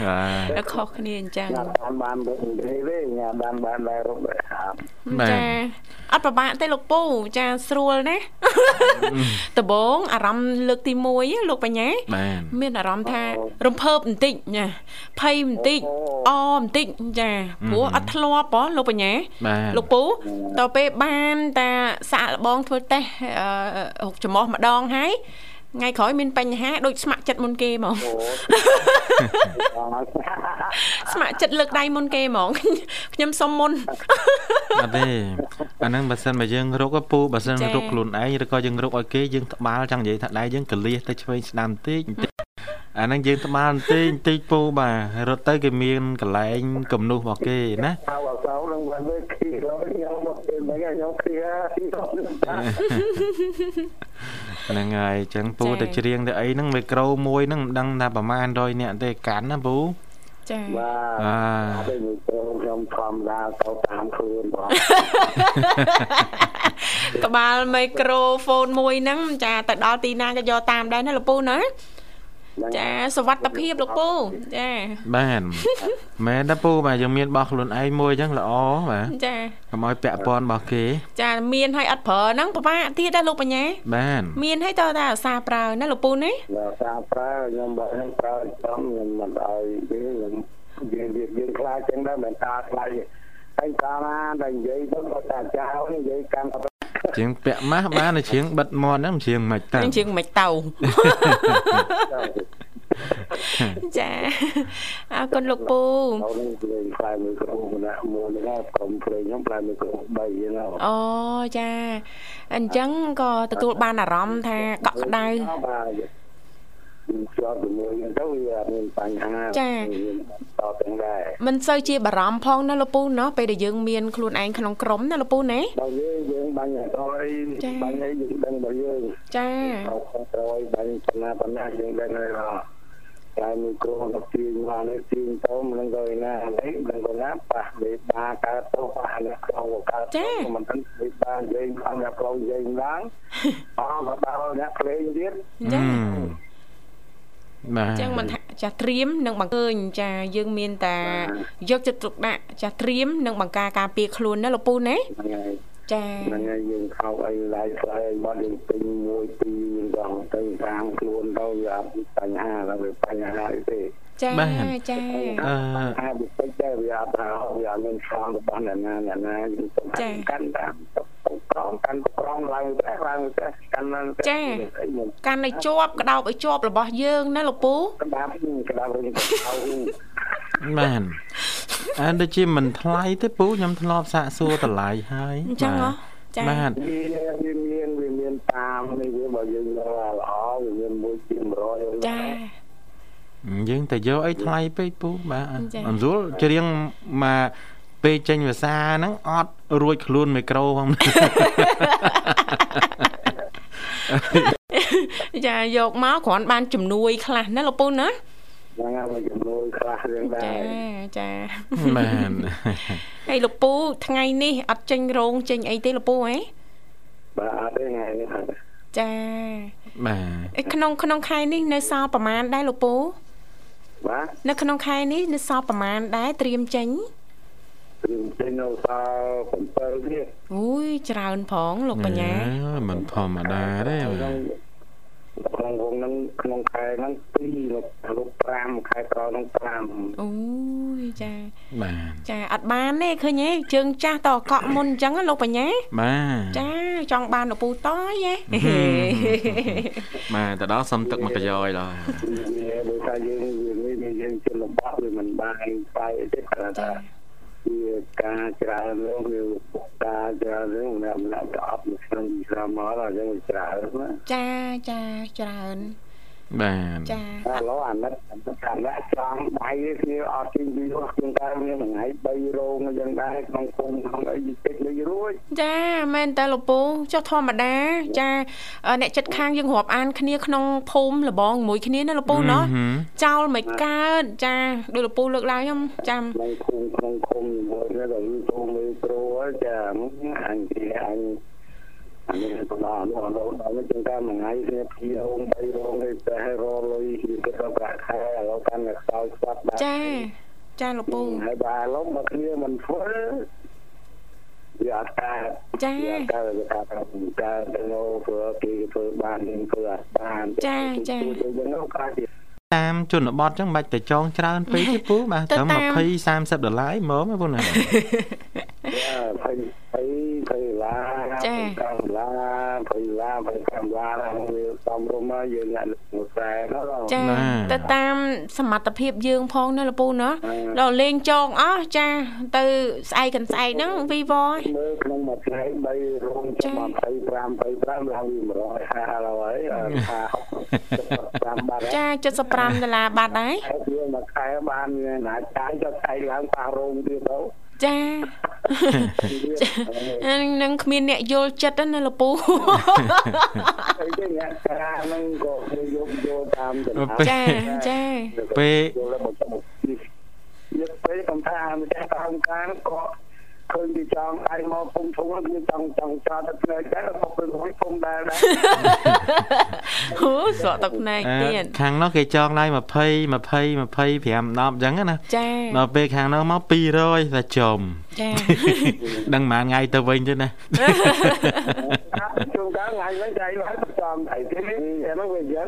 បាទ ដល់ខុសគ្នាអញ្ចឹង អត់តាន់បានរុំនិយាយទេញ៉ាំបានបានដែររុំដែរអត់ ចាអត់ប្របាក់ទេលោកពូចាស្រួលណាស់ដំបងអារម្មណ៍លើកទី1លោកបញ្ញា បាទ មានអារម្មណ៍ថារំភើបបន្តិចណាភ័យបន្តិចអបន្តិចចាព្រោះអត់ធ្លាប់ហ៎លោកបញ្ញា បាទ លោកពូតទៅពេលបានតាសាក់លបងធ្វើតេស្តអឺហុកចំមោះម្ដងហើយថ្ងៃក្រោយមានបញ្ហាដូចស្ម័គ្រចិត្តមុនគេហ្មង អត់ (laughs) ស្ម័គ្រចិត្តលើកដៃមុនគេហ្មង (laughs) ខ្ញុំសុំមុន អត់ទេអាហ្នឹងបើសិនបើយើងរុកហ៎ពូបើសិន ចា រុកខ្លួនឯងឬក៏យើងរុកឲ្យគេយើងត្បាល់ចង់និយាយថាដៃយើងកលៀសទៅឆ្វេងស្ដាំបន្តិចបន្តិចអាហ្នឹងយើងត្បាល់បន្តិចបន្តិចពូបាទរត់ទៅគេមានកន្លែងកំនុះរបស់គេណា ថាអត់សោនឹងវិញគីរខ្ញុំមកពេលហ្នឹងខ្ញុំគីហើយ ហ្នឹងហើយអញ្ចឹងពូ ចា៎ ទៅច្រៀងទៅអីហ្នឹងមីក្រូមួយហ្នឹងមិនដឹងថាប្រហែល100នាក់ទេកាន់ណាពូ ចា បាទ បាទ អត់ទេមួយក្រុមខ្ញុំធម្មតាទៅតាមខ្លួនបង (laughs) ក្បាលមីក្រូហ្វូនមួយហ្នឹងចាទៅដល់ទីណាក៏យកតាមដែរណាលោកពូណាចាសវត្ថិភាពលោកពូចា (laughs) បាទមែនណាពូបាទយើងមានរបស់ខ្លួនឯងមួយអញ្ចឹងល្អបាទ ចា កុំឲ្យពាក់ព័ន្ធរបស់គេ ចាមានឲ្យអត់ប្រើហ្នឹងពិបាកទៀតដែរលោកបញ្ញា បាទ មានឲ្យតើតាឧស្សាហ៍ប្រើណាលោកពូណា ដល់តាមប្រើខ្ញុំបើខ្ញុំប្រើចំខ្ញុំមិនឲ្យគេខ្ញុំយើងរៀបយើងខ្លាចចឹងដែរមិនតាខ្លាចតែកាលណាតែនិយាយទៅគាត់ថាចៅនិយាយកាន់តែ ច្រៀងពាក់ម៉ាស់បានហើយច្រៀងបិទមាត់ហ្នឹងច្រៀងមិនខ្មិចតា នឹងជើងមិនតៅ ចាអរគុណលោកពូ ទៅនេះលេងផ្លែមួយគ្រូម្នាក់មួយហ្នឹងក្រុមព្រេងខ្ញុំផ្លែមួយគ្រូ3ហ្នឹង អូចាអញ្ចឹងក៏ទទួលបានអារម្មណ៍ថាកក់ក្ដៅ បាទជាប់ជាមួយហ្នឹងទៅវាអត់មានបញ្ហា ចា មានតទាំងដែរ មិនសូវជាបារម្ភផងណាលោកពូណោះពេលដែលយើងមានខ្លួនឯងក្នុងក្រុមណាលោកពូណា ដល់យើងយើងបាញ់អត់អី ចា៎ បាញ់អីយើងដឹងរបស់យើង ចា ដល់ខុសត្រូវអីបាញ់បណ្ណាបណ្ណាយើងដឹងហើយបាទតែមួយគ្រូទៅទាញមកនេះទាញទៅមិនដឹងទៅឯណាហើយមិនដឹងទៅណាប៉ះវាបាកើតទៅប៉ះអ្នកក្នុងក៏កើតទៅមិនដឹងវាបាយើងខំអ្នកក្រុមយើង (laughs) ឡើងអស់មកដល់អ្នកភ្លេងទៀត ចា ហឹមបាអទញ្ចឹងមិនថាចាស់ត្រៀមនិងបង្កើញចាយើងមានតែយកចិត្តទុកដាក់ចាស់ត្រៀមនិងបង្ការការពារខ្លួនណាលោកពូណា ហ្នឹងហើយ ចា ហ្នឹងហើយយើងខោអីឡាយខ្លៃបាត់យើងពេញមួយពីរយើងដងទៅតាមខ្លួនទៅវាអត់មានបញ្ហាដល់វាបញ្ហាអីទេ ចាចា អឺ អាវិបិចដែរវាអត់ថាវាអត់មានខាងរបស់អ្នកណាអ្នកណាយើងទៅកាន់តាមប្រងកាន់ប្រងឡើងតែឡើងតែកាន់ឡើង កាន់ឲ្យជាប់ក្តោបឲ្យជាប់របស់យើងណាលោកពូ ក្តាប់ក្តាប់រឿងកៅ បាទអានដូចជាមិនថ្លៃទេពូខ្ញុំធ្លាប់សាកសួរតម្លៃហើយ អញ្ចឹងហ៎ចា បាទ វាមានវាមានតាមនេះវាបើយើងរកល្អវាមានមួយពី100 ចា (laughs) យើងតែយកអីថ្លៃពេកពូបាទ ចា៎ អំសួលច្រៀងមកពេលចេញភាសាហ្នឹងអត់រួចខ្លួនមីក្រូផង ចាយកមកគ្រាន់បានជំនួយខ្លះណាលោកពូណា ហ្នឹងហើយចំនួនខ្លះរឿងដែរ ចាចា (laughs) បាទ ហើយលោកពូថ្ងៃនេះអត់ចេញរោងចេញអីទេលោកពូហ៎ បាទអត់ទេថ្ងៃនេះ ចា បាទ ឯក្នុងក្នុងខែនេះនៅសល់ប្រមាណដែរលោកពូ បាទ នៅក្នុងខែនេះនៅសល់ប្រមាណដែរត្រៀមចេញ ព្រមទាំងនៅសល់7ទៀត អូយច្រើនផងលោកបញ្ញា អឺមិនធម្មតាទេបាទ ក្នុងក្នុងហ្នឹងក្នុងខែហ្នឹង2លុបលុប5ខែក្រោយហ្នឹង5 អូយចា បាទ ចាអត់បានទេឃើញទេជើងចាស់តកក់មុនអញ្ចឹងណាលោកបញ្ញា បាទ ចាចង់បានលពូតយហេ បាទទៅដល់សុំទឹកមួយកយ៉យឡើយ វាដោយសារយើងវាមានយើងជិះលំបាកវាមិនបានស្បែកទេគ្រាន់តែវាការច្រើននោះវាពុកការច្រើននោះម្នាក់ម្នាក់ក៏អត់មួយឆ្នាំពីរឆ្នាំមកដល់យើងវាច្រើនណា ចាចាច្រើន បាទ ចា ឥឡូវអាណិតអាណិតអាណិតចង់ដៃនេះគ្នាអត់ទីពីរស់ជាងតែមានថ្ងៃ3រោងអីយ៉ាងដែរក្នុងគុំក្នុងអីតិចលុយរួច ចាមែនតើលពូចុះធម្មតាចាអឺអ្នកចិត្តខាងយើងរាប់អានគ្នាក្នុងភូមិលបងជាមួយគ្នាណាលពូណោះចោលមិនកើតចាដូចលពូលើកឡើងខ្ញុំចាំ ក្នុងគុំក្នុងគុំជាមួយនេះដល់យូរទៅមេប្រូហើយចាអញគេអញអានេះក៏ដល់ដល់ដល់ជាងតែមួយថ្ងៃគ្នាពីររោងបីរោងនេះតែរលុយគឺទៅប្រាក់ខែឥឡូវកាន់តែខ្សោយស្បាត់បាទ ចាចាលពូ ហើយបាទឡុងមកគ្នាមិនធ្វើវាអត់កើត ចា៎ វាអត់កើតវាកើតប្រមកើតទៅព្រោះគេធ្វើបានយើងធ្វើអត់បាន ចា៎ចា៎ ទៅយើងនោះក្រោយទៀត តាមជនបទចឹងមិនបាច់ទៅចងច្រើនពេកទេពូបាទ ទៅ ត្រឹម តាម 20 30ដុល្លារឯងហ្មងណាពូណា ចាភ័យភ័យភ័យឡា ចា៎ កម្មឡាភ័យឡាភ័យកម្មឡាហ្នឹងវាសំរុំមកយើងអ្នកមួយខ្សែនោះ ចា បាទ ទៅតាមសមត្ថភាពយើងផងណាលពូណោះ បាទ ដល់លេងចងអស់ចាទៅស្អែកកន្សែកហ្នឹងវីវហើយ មើលក្នុងមួយថ្ងៃ3រោង ចា៎ ចាំ25 25ឡើងវា150ឡើយអត់ថា65បាត់ហើយ ចា75ដុល្លារបាត់ហើយ ហើយវាមួយខែបានមានអាចារ្យចុះថៃឡើងប៉ះរោងទៀតទៅ (laughs) ចានឹងគ្មានអ្នកយល់ចិត្តទេណាលពូ (laughs) អីទេអ្នកចារ្យហ្នឹងក៏គេយកយកតាមចំណា ចា (laughs) ចា ពេល យកឡើងមកមកយកពេលកំថាម្ចាស់ក្រុមការហ្នឹងក៏ឃើញពីចង់ឯងមកភូមិធំហ្នឹងគឺចង់ចង់ចោលទៅផ្នែកដែរមកពេលហួយភូមិដែរដែរ (laughs) អូស្រក់ទឹកភ្នែកទៀត ខាងនោះគេចងឡើង20 20 25 10អញ្ចឹងណា ចា ដល់ពេលខាងនោះមក200តែចំ ចា (laughs) ដឹងប៉ុន្មានថ្ងៃទៅវិញទេ (laughs) ណា (laughs) (laughs) ជុំកាលថ្ងៃហ្នឹងចៃឡើងចង់ (laughs) ថៃទេហ្នឹងវា (laughs) យ៉ាង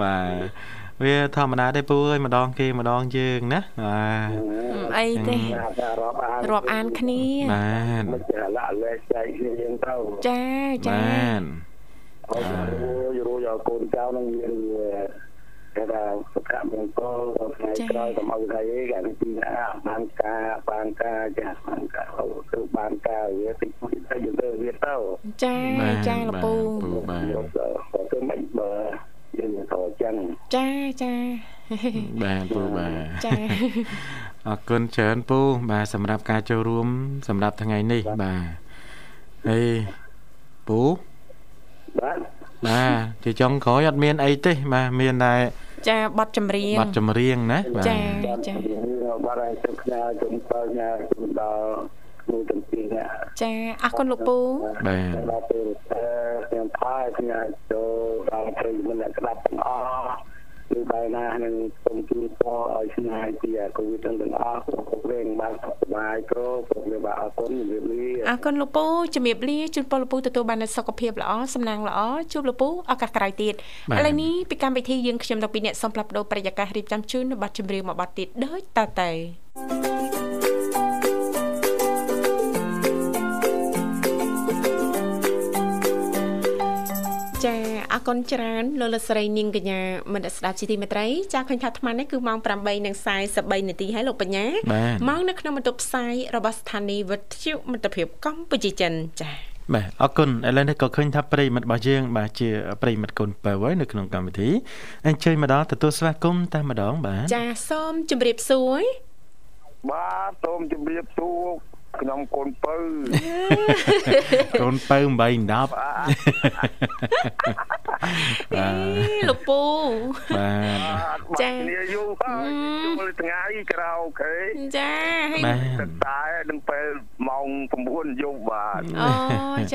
បាទវាធម្មតាទេពូអើយម្ដងគេម្ដងយើងណាបាទ អីទេ (laughs) ថារាប់អាន រាប់អានគ្នា បាទ មិនចេះលាក់លែកចៃគ្នាយើងទៅ ចាចា បាទ អរគុណយូរយកកូនចៅនឹងវាគេថាសុខមង្គលថ្ងៃក្រោយសម្រាប់ថ្ងៃឯងគេថាបានការបានការចាស់បានការគឺបានការវាតិចមួយតែយើងទៅវាទៅ ចាចាលពូ បាទ យកទៅគឺមិនបើយើងទៅចឹង ចាចា បាទពូបាទ ចា អរគុណច្រើនពូបាទសម្រាប់ការចូលរួម សម្រាប់ថ្ងៃនេះបាទហើយពូ បាទ បាទជាចុងក្រោយអត់មានអីទេ បាទមានតែ ចាបတ်ចម្រៀង ប័ណ្ណចម្រៀងណាបាទ ចាចា យើងបាត់ហើយទៅផ្នែកជុំទៅញ៉ាជុំដល់ខ្លួនទាំងពីរណា ចាអរគុណលោកពូ បាទ ដល់ពេលខ្ញុំផាយខ្ញុំចូលដល់ព្រឹកមិនស្ដាប់ទាំងអស់ឬបែរណានឹងសូមជូនពរឲ្យឆ្ងាយពីអាកូវីដទាំងអស់គ្រប់គ្រងបានសុខសប្បាយគ្រប់គ្រប់វាបាទអរគុណជំរាបលា អរគុណលោកពូជំរាបលាជូនពរលោកពូទទួលបាននូវសុខភាពល្អសំណាងល្អជួបលោកពូឱកាសក្រោយទៀតឥឡូវនេះពីកម្មវិធីយើងខ្ញុំដល់ពីអ្នកសូមផ្លាប់ដោប្រយាកររៀបចំជូននៅបတ်ចម្រៀងមួយបတ်ទៀតដូចតទៅចាអរគុណច្រើនលោកលកស្រីនាងកញ្ញាមនស្សស្ដាប់ជីទីមេត្រីចាឃើញថាអាត្មានេះគឺម៉ោង8:43នាទីហើយលោកបញ្ញា បាទ មកនៅក្នុងបន្ទប់ផ្សាយរបស់ស្ថានីយ៍វិទ្យុមិត្តភាពកម្ពុជាចិនចា បាទអរគុណឥឡូវនេះក៏ឃើញថាប្រិយមិត្តរបស់យើងបាទជាប្រិយមិត្តកូនបើហើយនៅក្នុងកម្មវិធីអញ្ជើញមកដល់ទទួលស្វាគមន៍តែម្ដងបាទ ចាសូមជម្រាបសួរ បាទសូមជម្រាបសួរក្នុងកូនពៅ កូនបើ8 (laughs) 10បាទ អេលោកពូ បាទ ចា៎ បាទគ្នាយូរហើយជួលថ្ងៃក្រៅខេ ចាហើយ បាទ ទឹកតែដល់ពេលម៉ោង9យប់បាទ អូ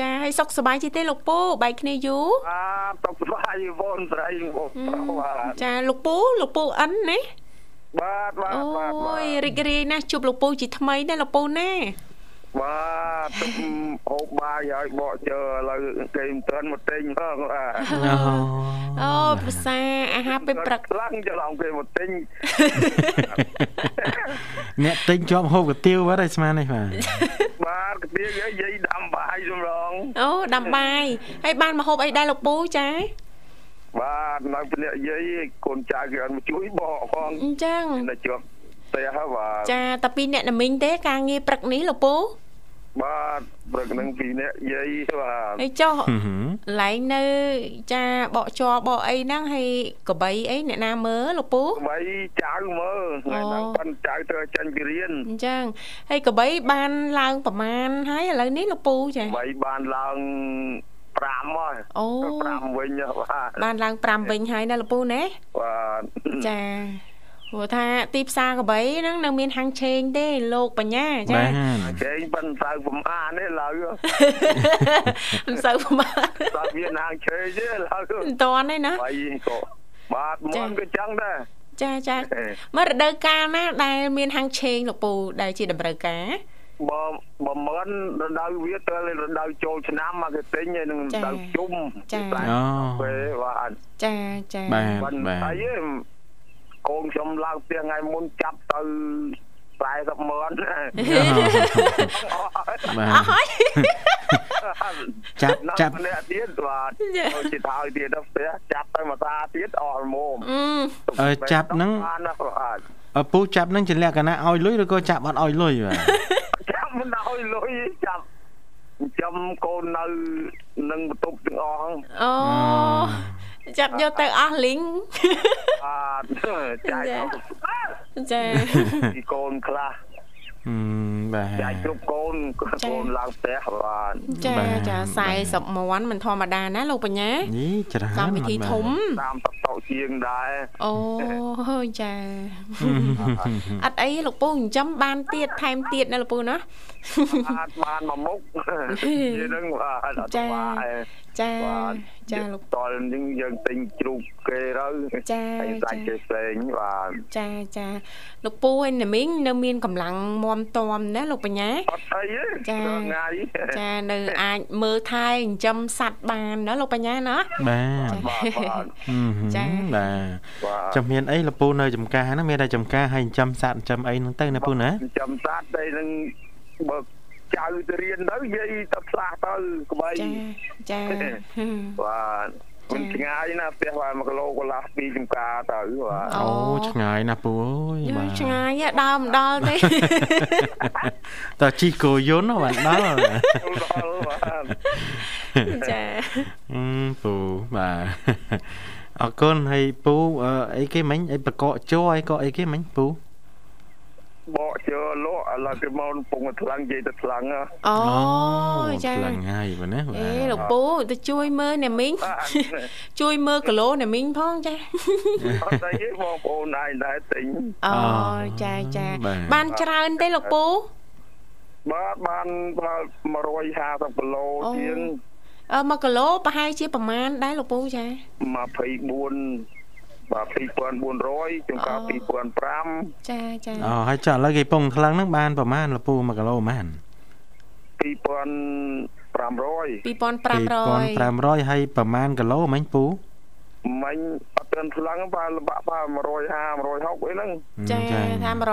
ចាហើយសុខសប្បាយជីទេលោកពូបែកគ្នាយូរ បាទសុខសប្បាយវ៉ុនស្រីបងប្រុសបាទ ចាលោកពូលោកពូអិនណា បាទបាទ អូ បាទបាទ យរីករាយណាស់ជួបលោកពូជាថ្មីណាលោកពូណា បាទទុកហូបបាយឲ្យបកជើឥឡូវគេមិនទាន់មកទិញផងបាទ អូ អូប្រសាអាហារពេលព្រឹក (laughs) ខ្លាំងច្រឡំគេមកទិញ (laughs) អ្នកទិញជាប់ហូបកាទៀវបាត់ហើយស្មាននេះ (laughs) បាទ បាទកាទៀងយាយយាយដាំបាយសម្រង អូដាំបាយហើយបានមកហូបអីដែរលោកពូចា បាទនៅភ្នាក់យាយកូនចៅគេអត់មកជួយបកផង អញ្ចឹង តែជាប់ផ្ទះហើយបាទ ចាតាពីអ្នកណាមីងទេការងារព្រឹកនេះលោកពូ បាទព្រឹកហ្នឹងពីរនាក់យាយបាទ ហើយចុះ ហឹមហឹម កន្លែងនៅចាបកជ័របកអីហ្នឹងហើយកបីអីអ្នកណាមើលលោកពូ ថ្មីចៅមើលថ្ងៃហ្នឹង អូ ប៉ិនចៅត្រូវចាញ់ពីរៀន អញ្ចឹងហើយកបីបានឡើងប្រមាណហើយឥឡូវនេះលោកពូចា ថ្មីបានឡើង5មក អូ 5វិញហ៎បាទ បានឡើង5វិញហើយណាលោកពូណា បាទ ចាព្រោះថាទីផ្សារកបីហ្នឹងនៅមានហាងឆេងទេលោកបញ្ញា បា ចា ទ គេប៉ិនសៅប្រមាណនេះឡើយ (laughs) មិនសូវប្រមាណ សៅមានហាងឆេទេឡើយ មិនតាន់ទេណា ថ្មីក៏បាទ ចា មុនក៏ចឹងដែរ ចាចា អេ មករដូវកាលណាដែលមានហាងឆេងលោកពូដែលជាតម្រូវការ បើបើមិនរដូវវាត្រូវតែរដូវចូលឆ្នាំមកគេទិញហើយនឹងរ ចា ដូវជុំ ចា តែ អូ ពេលបាទ ចាចា បាទ មិន បាទ (laughs) អីទេកូនខ្ញុំឡើងផ្ទះថ្ងៃមុនចាប់ទៅ40ម៉ឺន (laughs) បាទ អស់ហើយ (laughs) ចាប់ ណា ចាប់ ប់ម្នាក់ទៀតបាទ ចា ចូលចិត្តហើយទៀតដល់ផ្ទះចាប់ទៅមួយសាទៀតអស់ល្មម អឺ អឺចាប់ហ្នឹង បានណាស់បាទ ឪពូចាប់នឹងជាលក្ខណៈឲ្យលុយឬក៏ចាប់អត់ឲ្យលុយបាទ (laughs) ចាប់មិនឲ្យលុយចាប់ចាំកូននៅនឹងបន្ទប់ទាំងអស់ហ្នឹង អូចាប់យកទៅអស់លីង (laughs) បាទចែក ចា ឲ្យ ចា ពីកូនខ្លះ ហឹមបាទ ចែកគ្រប់កូនកូនឡើងផ្ទះបាទ ចា បាទ ចា40មាន់មិនធម្មតាណាលោកបញ្ញា នេះច្រើន កម្មវិធី (laughs) ធំ តាមតកតោជាងដែរ អូចាអត់អីលោកពូចិញ្ចឹមបានទៀតថែមទៀតណាលោកពូណា (laughs) អាចបានមកមុខនិយាយហ្នឹងបាទអត់ ចា បាន ចា បាទ ចាលោក តលនឹងយើងទិញជ្រូកគេទៅ ចា ហើយសាច់ ចា គេផ្សេងបាទ ចាចាលោកពូហើយណាមីងនៅមានកម្លាំងមមតមណាលោកបញ្ញា អត់អី ចា ទេដល់ថ្ងៃ (laughs) ចានៅអាចមើលថែចិញ្ចឹមសัตว์បានណាលោកបញ្ញាណា បាទ បាទ (laughs) បាទ ចា ចាបាទ បាទ ចាំមានអីលពូនៅចំការហ្នឹងមានតែចំការហើយចិញ្ចឹមសត្វចិញ្ចឹមអីហ្នឹងទៅណាពូណា ចិញ្ចាំសត្វតែនឹងបើចៅទៅរៀនទៅនិយាយទៅផ្លាស់ទៅក្បី ចាចា បាទមិនឆ្ងាយណាផ្ទះបាទ1គីឡូកន្លះពីចំការទៅបាទ អូឆ្ងាយណាស់ពូអើយ យើ បាទ ឆ្ងាយហ៎ដើរមនដល់ (laughs) ទេ (laughs) តើជីកគោយន្តបានដល់ ចូលដល់បាទ ចា ហឹមពូបាទ (laughs) អរគុណហើយពូអឺអីគេមិញអីប្រកកជោអីក៏អីគេមិញពូ បកជើលក់ឥឡូវគេមកកំពងថ្លាំងនិយាយទៅថ្លាំងហ៎ អូចា ខ្លាំងហើយបងណា អេលោកពូទៅជួយមើលណាមីង បាទ (laughs) ជួយមើលគីឡូណាមីងផងចា (laughs) អត់អីទេបងប្អូនឯងដែរទិញ អូចាចាបានច្រើនទេលោកពូ បាទបានប្រហែល150គីឡូ អូ ជាង អឺ1គីឡូប្រហែលជាប្រមាណដែរលោកពូចា 24បាទ2400ចំការ អូ 2500 ចាចា អូហើយចុះឥឡូវគេពងថ្លឹងហ្នឹងបានប្រមាណលពូ1គីឡូប្រហែល2500 2500 2500ហើយប្រមាណគីឡូមិញពូ មិញអត់ទាន់ថ្លាំងទេបាទលបាក់បាទ150 160អីហ្នឹង ចា អញ្ ថា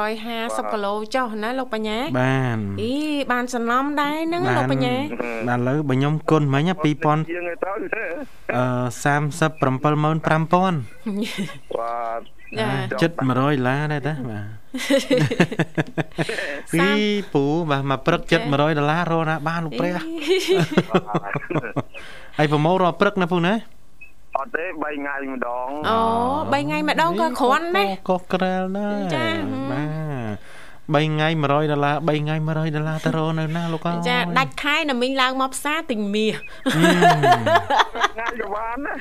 150គីឡូចុះណាលោកបញ្ញា បាន អីបានសំណំដែរហ្នឹង បា លោក ន បញ្ញា (laughs) បានឥឡូវបងខ្ញុំគុណមិញ2000 ជាងទៅទៅ អឺ375,000 បាទ ចា ចិត្ត100ដុល្លារដែរ (laughs) តាបាទពីពូបាទមកព្រឹកចិត្ត100ដុល្លាររកណាបានលោកព្រះហើយប្រម៉ូលរាល់ព្រឹកណាពូណា អត់ទេ3ថ្ងៃម្ដង អូ3ថ្ងៃម្ដងក៏គ្រាន់ដែរ ក៏ក្រាលណាស់ ចា បាទ3ថ្ងៃ100ដុល្លារ3ថ្ងៃ100ដុល្លារទៅរកនៅណាលោកអើយ ចាដាច់ខែណាមីងឡើងមកផ្សារទិញមាស ថ្ងៃក៏បានណា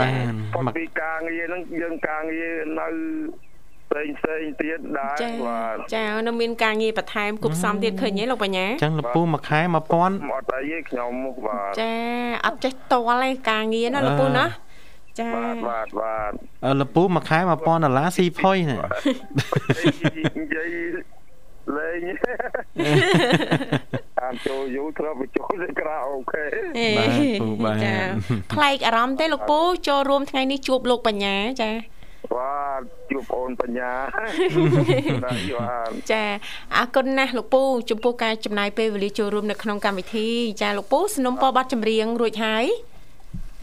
បាន ប៉ុ មកន្តែពីការងារហ្នឹងយើងការងារនៅផ្សេងផ្សេងទៀតដែរ ចា បាទ ចានៅមានការងារបន្ថែមគប់សំទៀតឃើញទេលោកបញ្ញា អញ្ចឹងលោកពូមួយខែ1000 អត់អីទេខ្ញុំបាទ ចាអត់ចេះតល់ទេការងារណាលោកពូណា ចា បាទបាទបាទ អឺលពូមួយខែ1000ដុល្លារស៊ីផុយណា និយាយលេង (laughs) តាមចូលយូរធ្លាប់ទៅចូលទៅក្រៅអូខេ អេ (laughs) បាទពូបាទ ចា (laughs) ប្លែកអារម្មណ៍ទេលោកពូចូលរួមថ្ងៃនេះជួបលោកបញ្ញាចា បាទជួបអូនប (laughs) ញ្ញាបាទយូអាន ចាអរគុណណាស់លោកពូចំពោះការចំណាយពេលវេលាចូលរួមនៅក្នុងកម្មវិធីចាលោកពូสนុំពរប័ណ្ណចម្រៀងរួចហើយ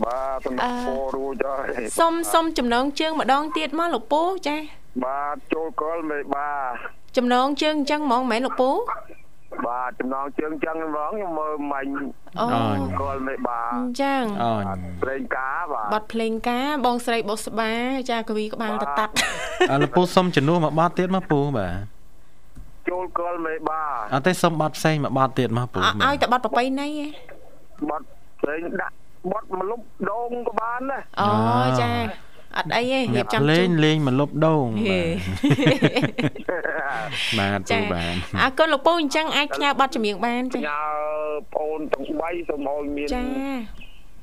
បាទសំណពររួចហើយ សុំសុំចំណងជើងម្ដងទៀតមកលោកពូចា បាទចូលកលមេបា ចំណងជើងអញ្ចឹងហ្មងមែនលោកពូ បាទចំណងជើងចឹងហ្មងខ្ញុំមើលមិញ អូ អ่อน កលមេបា អញ្ចឹង អូន ព្រេងកាបាទ ប័ណ្ណភ្លេងការបងស្រីបុស្បាចាកវីក្បាលតតាត់ អឺលពូសុំជំនួសមួយបទទៀតមកពូបាទ ចូលកលមេបា អត់ទេសុំបទផ្សេងមួយបទទៀតមកពូ អ่ะឲ្យតែប័ណ្ណប្របីណីឯង បាត់ព្រេងដាក់បាត់មកលុបដងក៏បាន (laughs) ដែរ អូចាអត់អីទេរៀ អ្នក បចំ លេ ជូ ង ន លេងមកលុបដង ហេ (laughs) បាទបាទពូ ចា បាទ អរគុណលោកពូអញ្ចឹងអាចផ្ញើប័ណ្ណចម្រៀងបានចា ញ៉ៅប្អូនទាំង3សូមឲ្យមាន ចា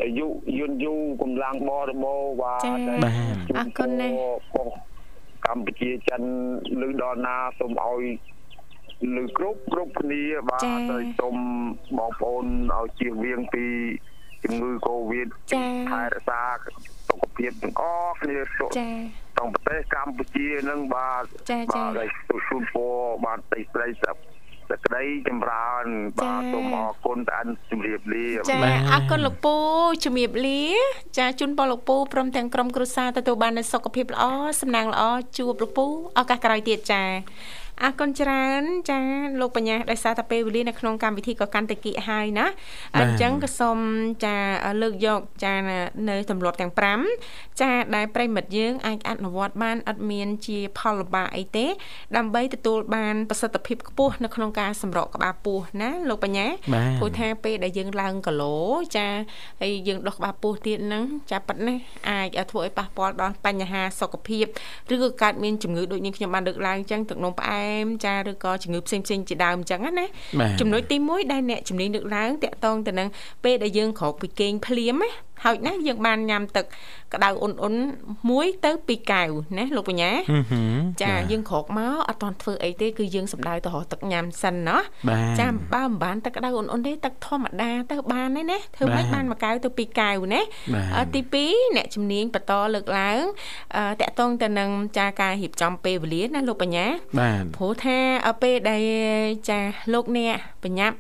អាយុយឺនយូរកម្លាំងបរិបូរណ៍បាទ ចា បាទ អរគុណណាស់ បងកម្ពុជាចិនឬដល់ណាសូមឲ្យឬគ្រប់គ្រប់គ្នាបាទ ចា៎ ទៅសូមបងប្អូនឲ្យជៀសវាងពីជំងឺកូវីដ ចា ថែរក្សាសុខភាពទាំងអស់គ្នាសុខ ចា ក្នុងប្រទេសកម្ពុជានឹងបាទ ចា បា ចា ទហើយសុខសុខពរបាទទីស្រីសសក្តីចម្រើន បាទ ចា៎ សូមអរគុណតានជំរាបលាបាទ ចា បាទ អរគុណលោកពូជំរាបលាចាជូនពរលោកពូព្រមទាំងក្រុមគ្រួសារទទួលបាននូវសុខភាពល្អសំណាងល្អជួបលោកពូឱកាសក្រោយទៀតចាអរគុណច្រើនចាលោកបញ្ញាដោយសារតែពេលវេលានៅក្នុងកម្មវិធីក៏កាន់តែគៀកហើយណាអញ្ចឹងក៏សូមចាលើកយកចានៅទម្លាប់ទាំង5ចាដែលប្រិមិត្តយើងអាចអនុវត្តបានអត់មានជាផលលំបាកអីទេ ដើម្បីទទួលបានប្រសិទ្ធភាពខ្ពស់នៅក្នុងការសម្រកក្បាលពោះណាលោកបញ្ញា បាទ ព្រោះថា ថាពេលដែលយើងឡើងគីឡូចាហើយយើងដុសក្បាលពោះទៀតហ្នឹងចាប៉ិតណាអាចធ្វើឲ្យប៉ះពាល់ដល់បញ្ហាសុខភាពឬក៏កើតមានជំងឺដូចនាងខ្ញុំបានលើកឡើងអញ្ចឹងទឹកនោមផ្អែមចាឬក៏ជំងឺផ្សេងផ្សេងៗជាដើមអញ្ចឹងណា បាទ ចំណុចទី1ដែលអ្នកជំនាញលើកឡើងតាក់ទងទៅនឹងពេលដែលយើងក្រោកពីគេងភ្លាមណាហើយណាយើងបានញ៉ាំទឹកក្តៅអ៊ុនៗមួយទៅពីរកែវណាលោកបញ្ញា ហឹមហឹម ចាយើងក្រោកមកអត់ទាន់ធ្វើអីទេគឺយើងសម្ដៅទៅរកទឹកញ៉ាំសិនណោះ បាទ ចា ចាំ បើមិនបានទឹកក្តៅអ៊ុនអ៊ុនទេទឹកធម្មតាទៅបានទេណាធ្វើម៉េច បាទ បានមួយកែវទៅពីរកែវណា បាទ អឺទី2អ្នកជំនាញបន្តលើកឡើងអឺតកតងទៅនឹងចាការរៀបចំពេលវេលាណាលោកបញ្ញា បាទ ព្រោះថាអឺពេលដែលចាលោកអ្នកបញ្ញាប់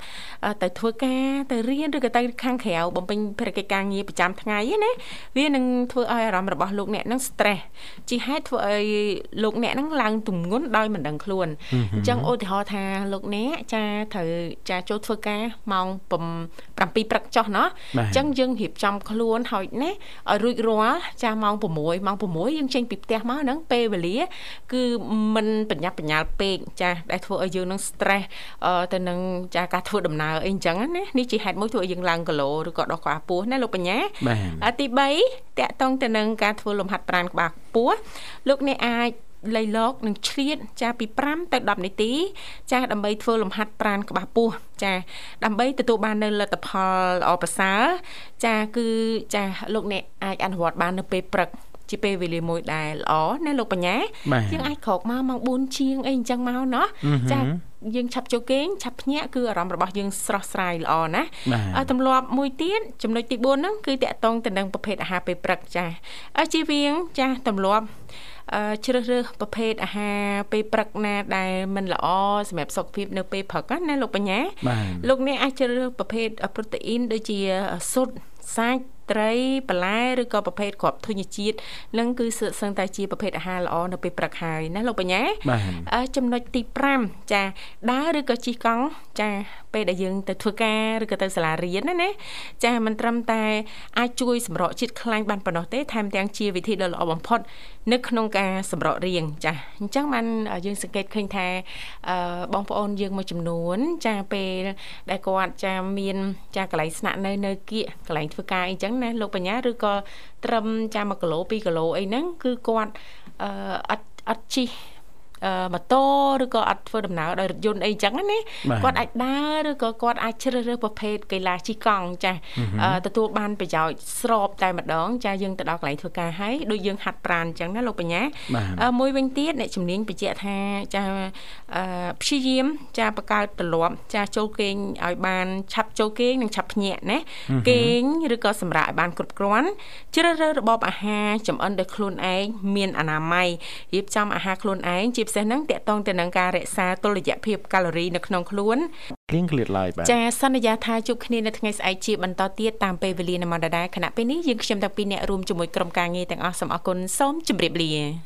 អឺទៅធ្វើការទៅរៀនឬក៏ទៅខាងក្រៅបំពេញភារកិច្ចការងារប្រចាំថ្ងៃហ្នឹងណាវានឹងធ្វើឲ្យអារម្មណ៍របស់លោកអ្នកហ្នឹង stress ជាហេតុធ្វើឲ្យលោកអ្នកហ្នឹងឡើងទម្ងន់ដោយមិនដឹងខ្លួន អញ្ចឹងឧទាហរណ៍ថាលោកអ្នកចាត្រូវចាចូលធ្វើការម៉ោង7 7ព្រឹកចុះណោះ បាអទញ្ចឹងយើងរៀបចំខ្លួនហើយណាឲ្យរួចរាល់ចាម៉ោង6ម៉ោង6យើងចេញពីផ្ទះមកហ្នឹងពេលវេលា គឺมันបញ្ញាប់បញ្ញាល់ពេកចាដែលធ្វើឲ្យយើងនឹង stress អឺទៅនឹងចាការធ្វើដំណើរអីអញ្ចឹងណានេះជាហេតុមួយធ្វើឲ្យយើងឡើងគីឡូឬក៏ដុសក្បាលពោះណាលោកបញ្ញា បាទ អទី3តកតងទៅនឹងការធ្វើលំហាត់ប្រាណក្បាលខ្ពស់លោកអ្នកអាចលៃលកនឹងឆ្លៀតចាពី5ទៅ10នាទី ចាដើម្បីធ្វើលំហាត់ប្រាណក្បាលពោះចាដើម្បីទទួលបាននៅលទ្ធផលល្អប្រសើរចាគឺចាលោកអ្នកអាចអនុវត្តបាននៅពេលព្រឹកជាពេលវេលាមួយដែលល្អណាលោកបញ្ញា បាទ យើងអាចក្រោកមកម៉ោង4ជាងអីអញ្ចឹងមកណោះចាយើងឆាប់ចូលគេងឆាប់ភ្ញាក់គឺអារម្មណ៍របស់យើងស្រស់ស្រាយល្អណា បាទ អ่ะទម្លាប់មួយទៀតចំណុចទី4ហ្នឹងគឺតកតងទៅនឹងប្រភេទអាហារពេលព្រឹកចាស់អ่ะជីវៀងចាស់ទម្លាប់អឺជ្រើសរើសប្រភេទអាហារពេលព្រឹកណាដែលមិនល្អសម្រាប់សុខភាពនៅពេលព្រឹកណាណាលោកបញ្ញា បាទ លោកអ្នកអាចជ្រើសរើសប្រភេទប្រូតេអ៊ីនដូចជាស៊ុតសាច់ត្រីបន្លែឬក៏ប្រភេទគ្រាប់ធញ្ញជាតិនឹងគឺសឹកសឹងតែជាប្រភេទអាហារល្អនៅពេលព្រឹកហើយណាលោកបញ្ញា បាទ អឺចំណុចទី5ចាដើរឬក៏ជិះកង់ចាពេលដែលយើងទៅធ្វើការឬក៏ទៅសាលារៀនណាណាចាមិនត្រឹមតែអាចជួយសម្រកជាតិខ្លាញ់បានប៉ុណ្ណោះទេថែមទាំងជាវិធីដ៏ល្អបំផុត នៅក្នុងការសម្រករាងចាអញ្ចឹងបានយើងសង្កេតឃើញថាអឺបងប្អូនយើងមួយចំនួន ចាពេលដែលគាត់ចាមានចាកន្លែងស្នាក់នៅនៅគៀកកន្លែងធ្វើការអីចឹងណាលោកបញ្ញាឬក៏ត្រឹមចា1គីឡូ2គីឡូអីហ្នឹងគឺគាត់អឺអត់អត់ជិះ ម៉ូតូឬក៏អត់ធ្វើដំណើរដោយរថយន្តអីចឹងណា បាទ គាត់អាចដើរឬក៏គាត់អាចជ្រើសរើសប្រភេទកីឡាជិះកង់ចាស់ ហឹម អឺទទួលបានប្រយោជន៍ស្របតែម្ដង ចាស់យើងទៅដល់កន្លែងធ្វើការហើយដូចយើងហាត់ប្រាណអញ្ចឹងណាលោកបញ្ញា បាទ អឺមួយវិញទៀតអ្នកជំនាញបញ្ជាក់ថាចាអឺព្យាយាមចាបង្កើតទម្លាប់ចាចូលគេងឲ្យបានឆាប់ចូលគេងនិងឆាប់ភ្ញាក់ណាគេងឬក៏សម្រាកឲ្យបានគ្រប់គ្រាន់ជ្រើសរើសរបបអាហារចំអិនដោយខ្លួនឯងមានអនាម័យរៀបចំអាហារខ្លួនឯងជាពិសេសហ្នឹងតកតងទៅនឹងការរក្សាតុល្យភាពកាឡូរីនៅក្នុងខ្លួន គ្លៀងគ្លៀតឡើយបាទ ចាសន្យាថាជួបគ្នានៅថ្ងៃស្អែកជាបន្តទៀតតាមពេលវេលាណាមដដែលខណៈពេលនេះយើងខ្ញុំតាំងពីអ្នករួមជាមួយក្រុមការងារទាំងអស់សូមអរគុណសូមជម្រាបលា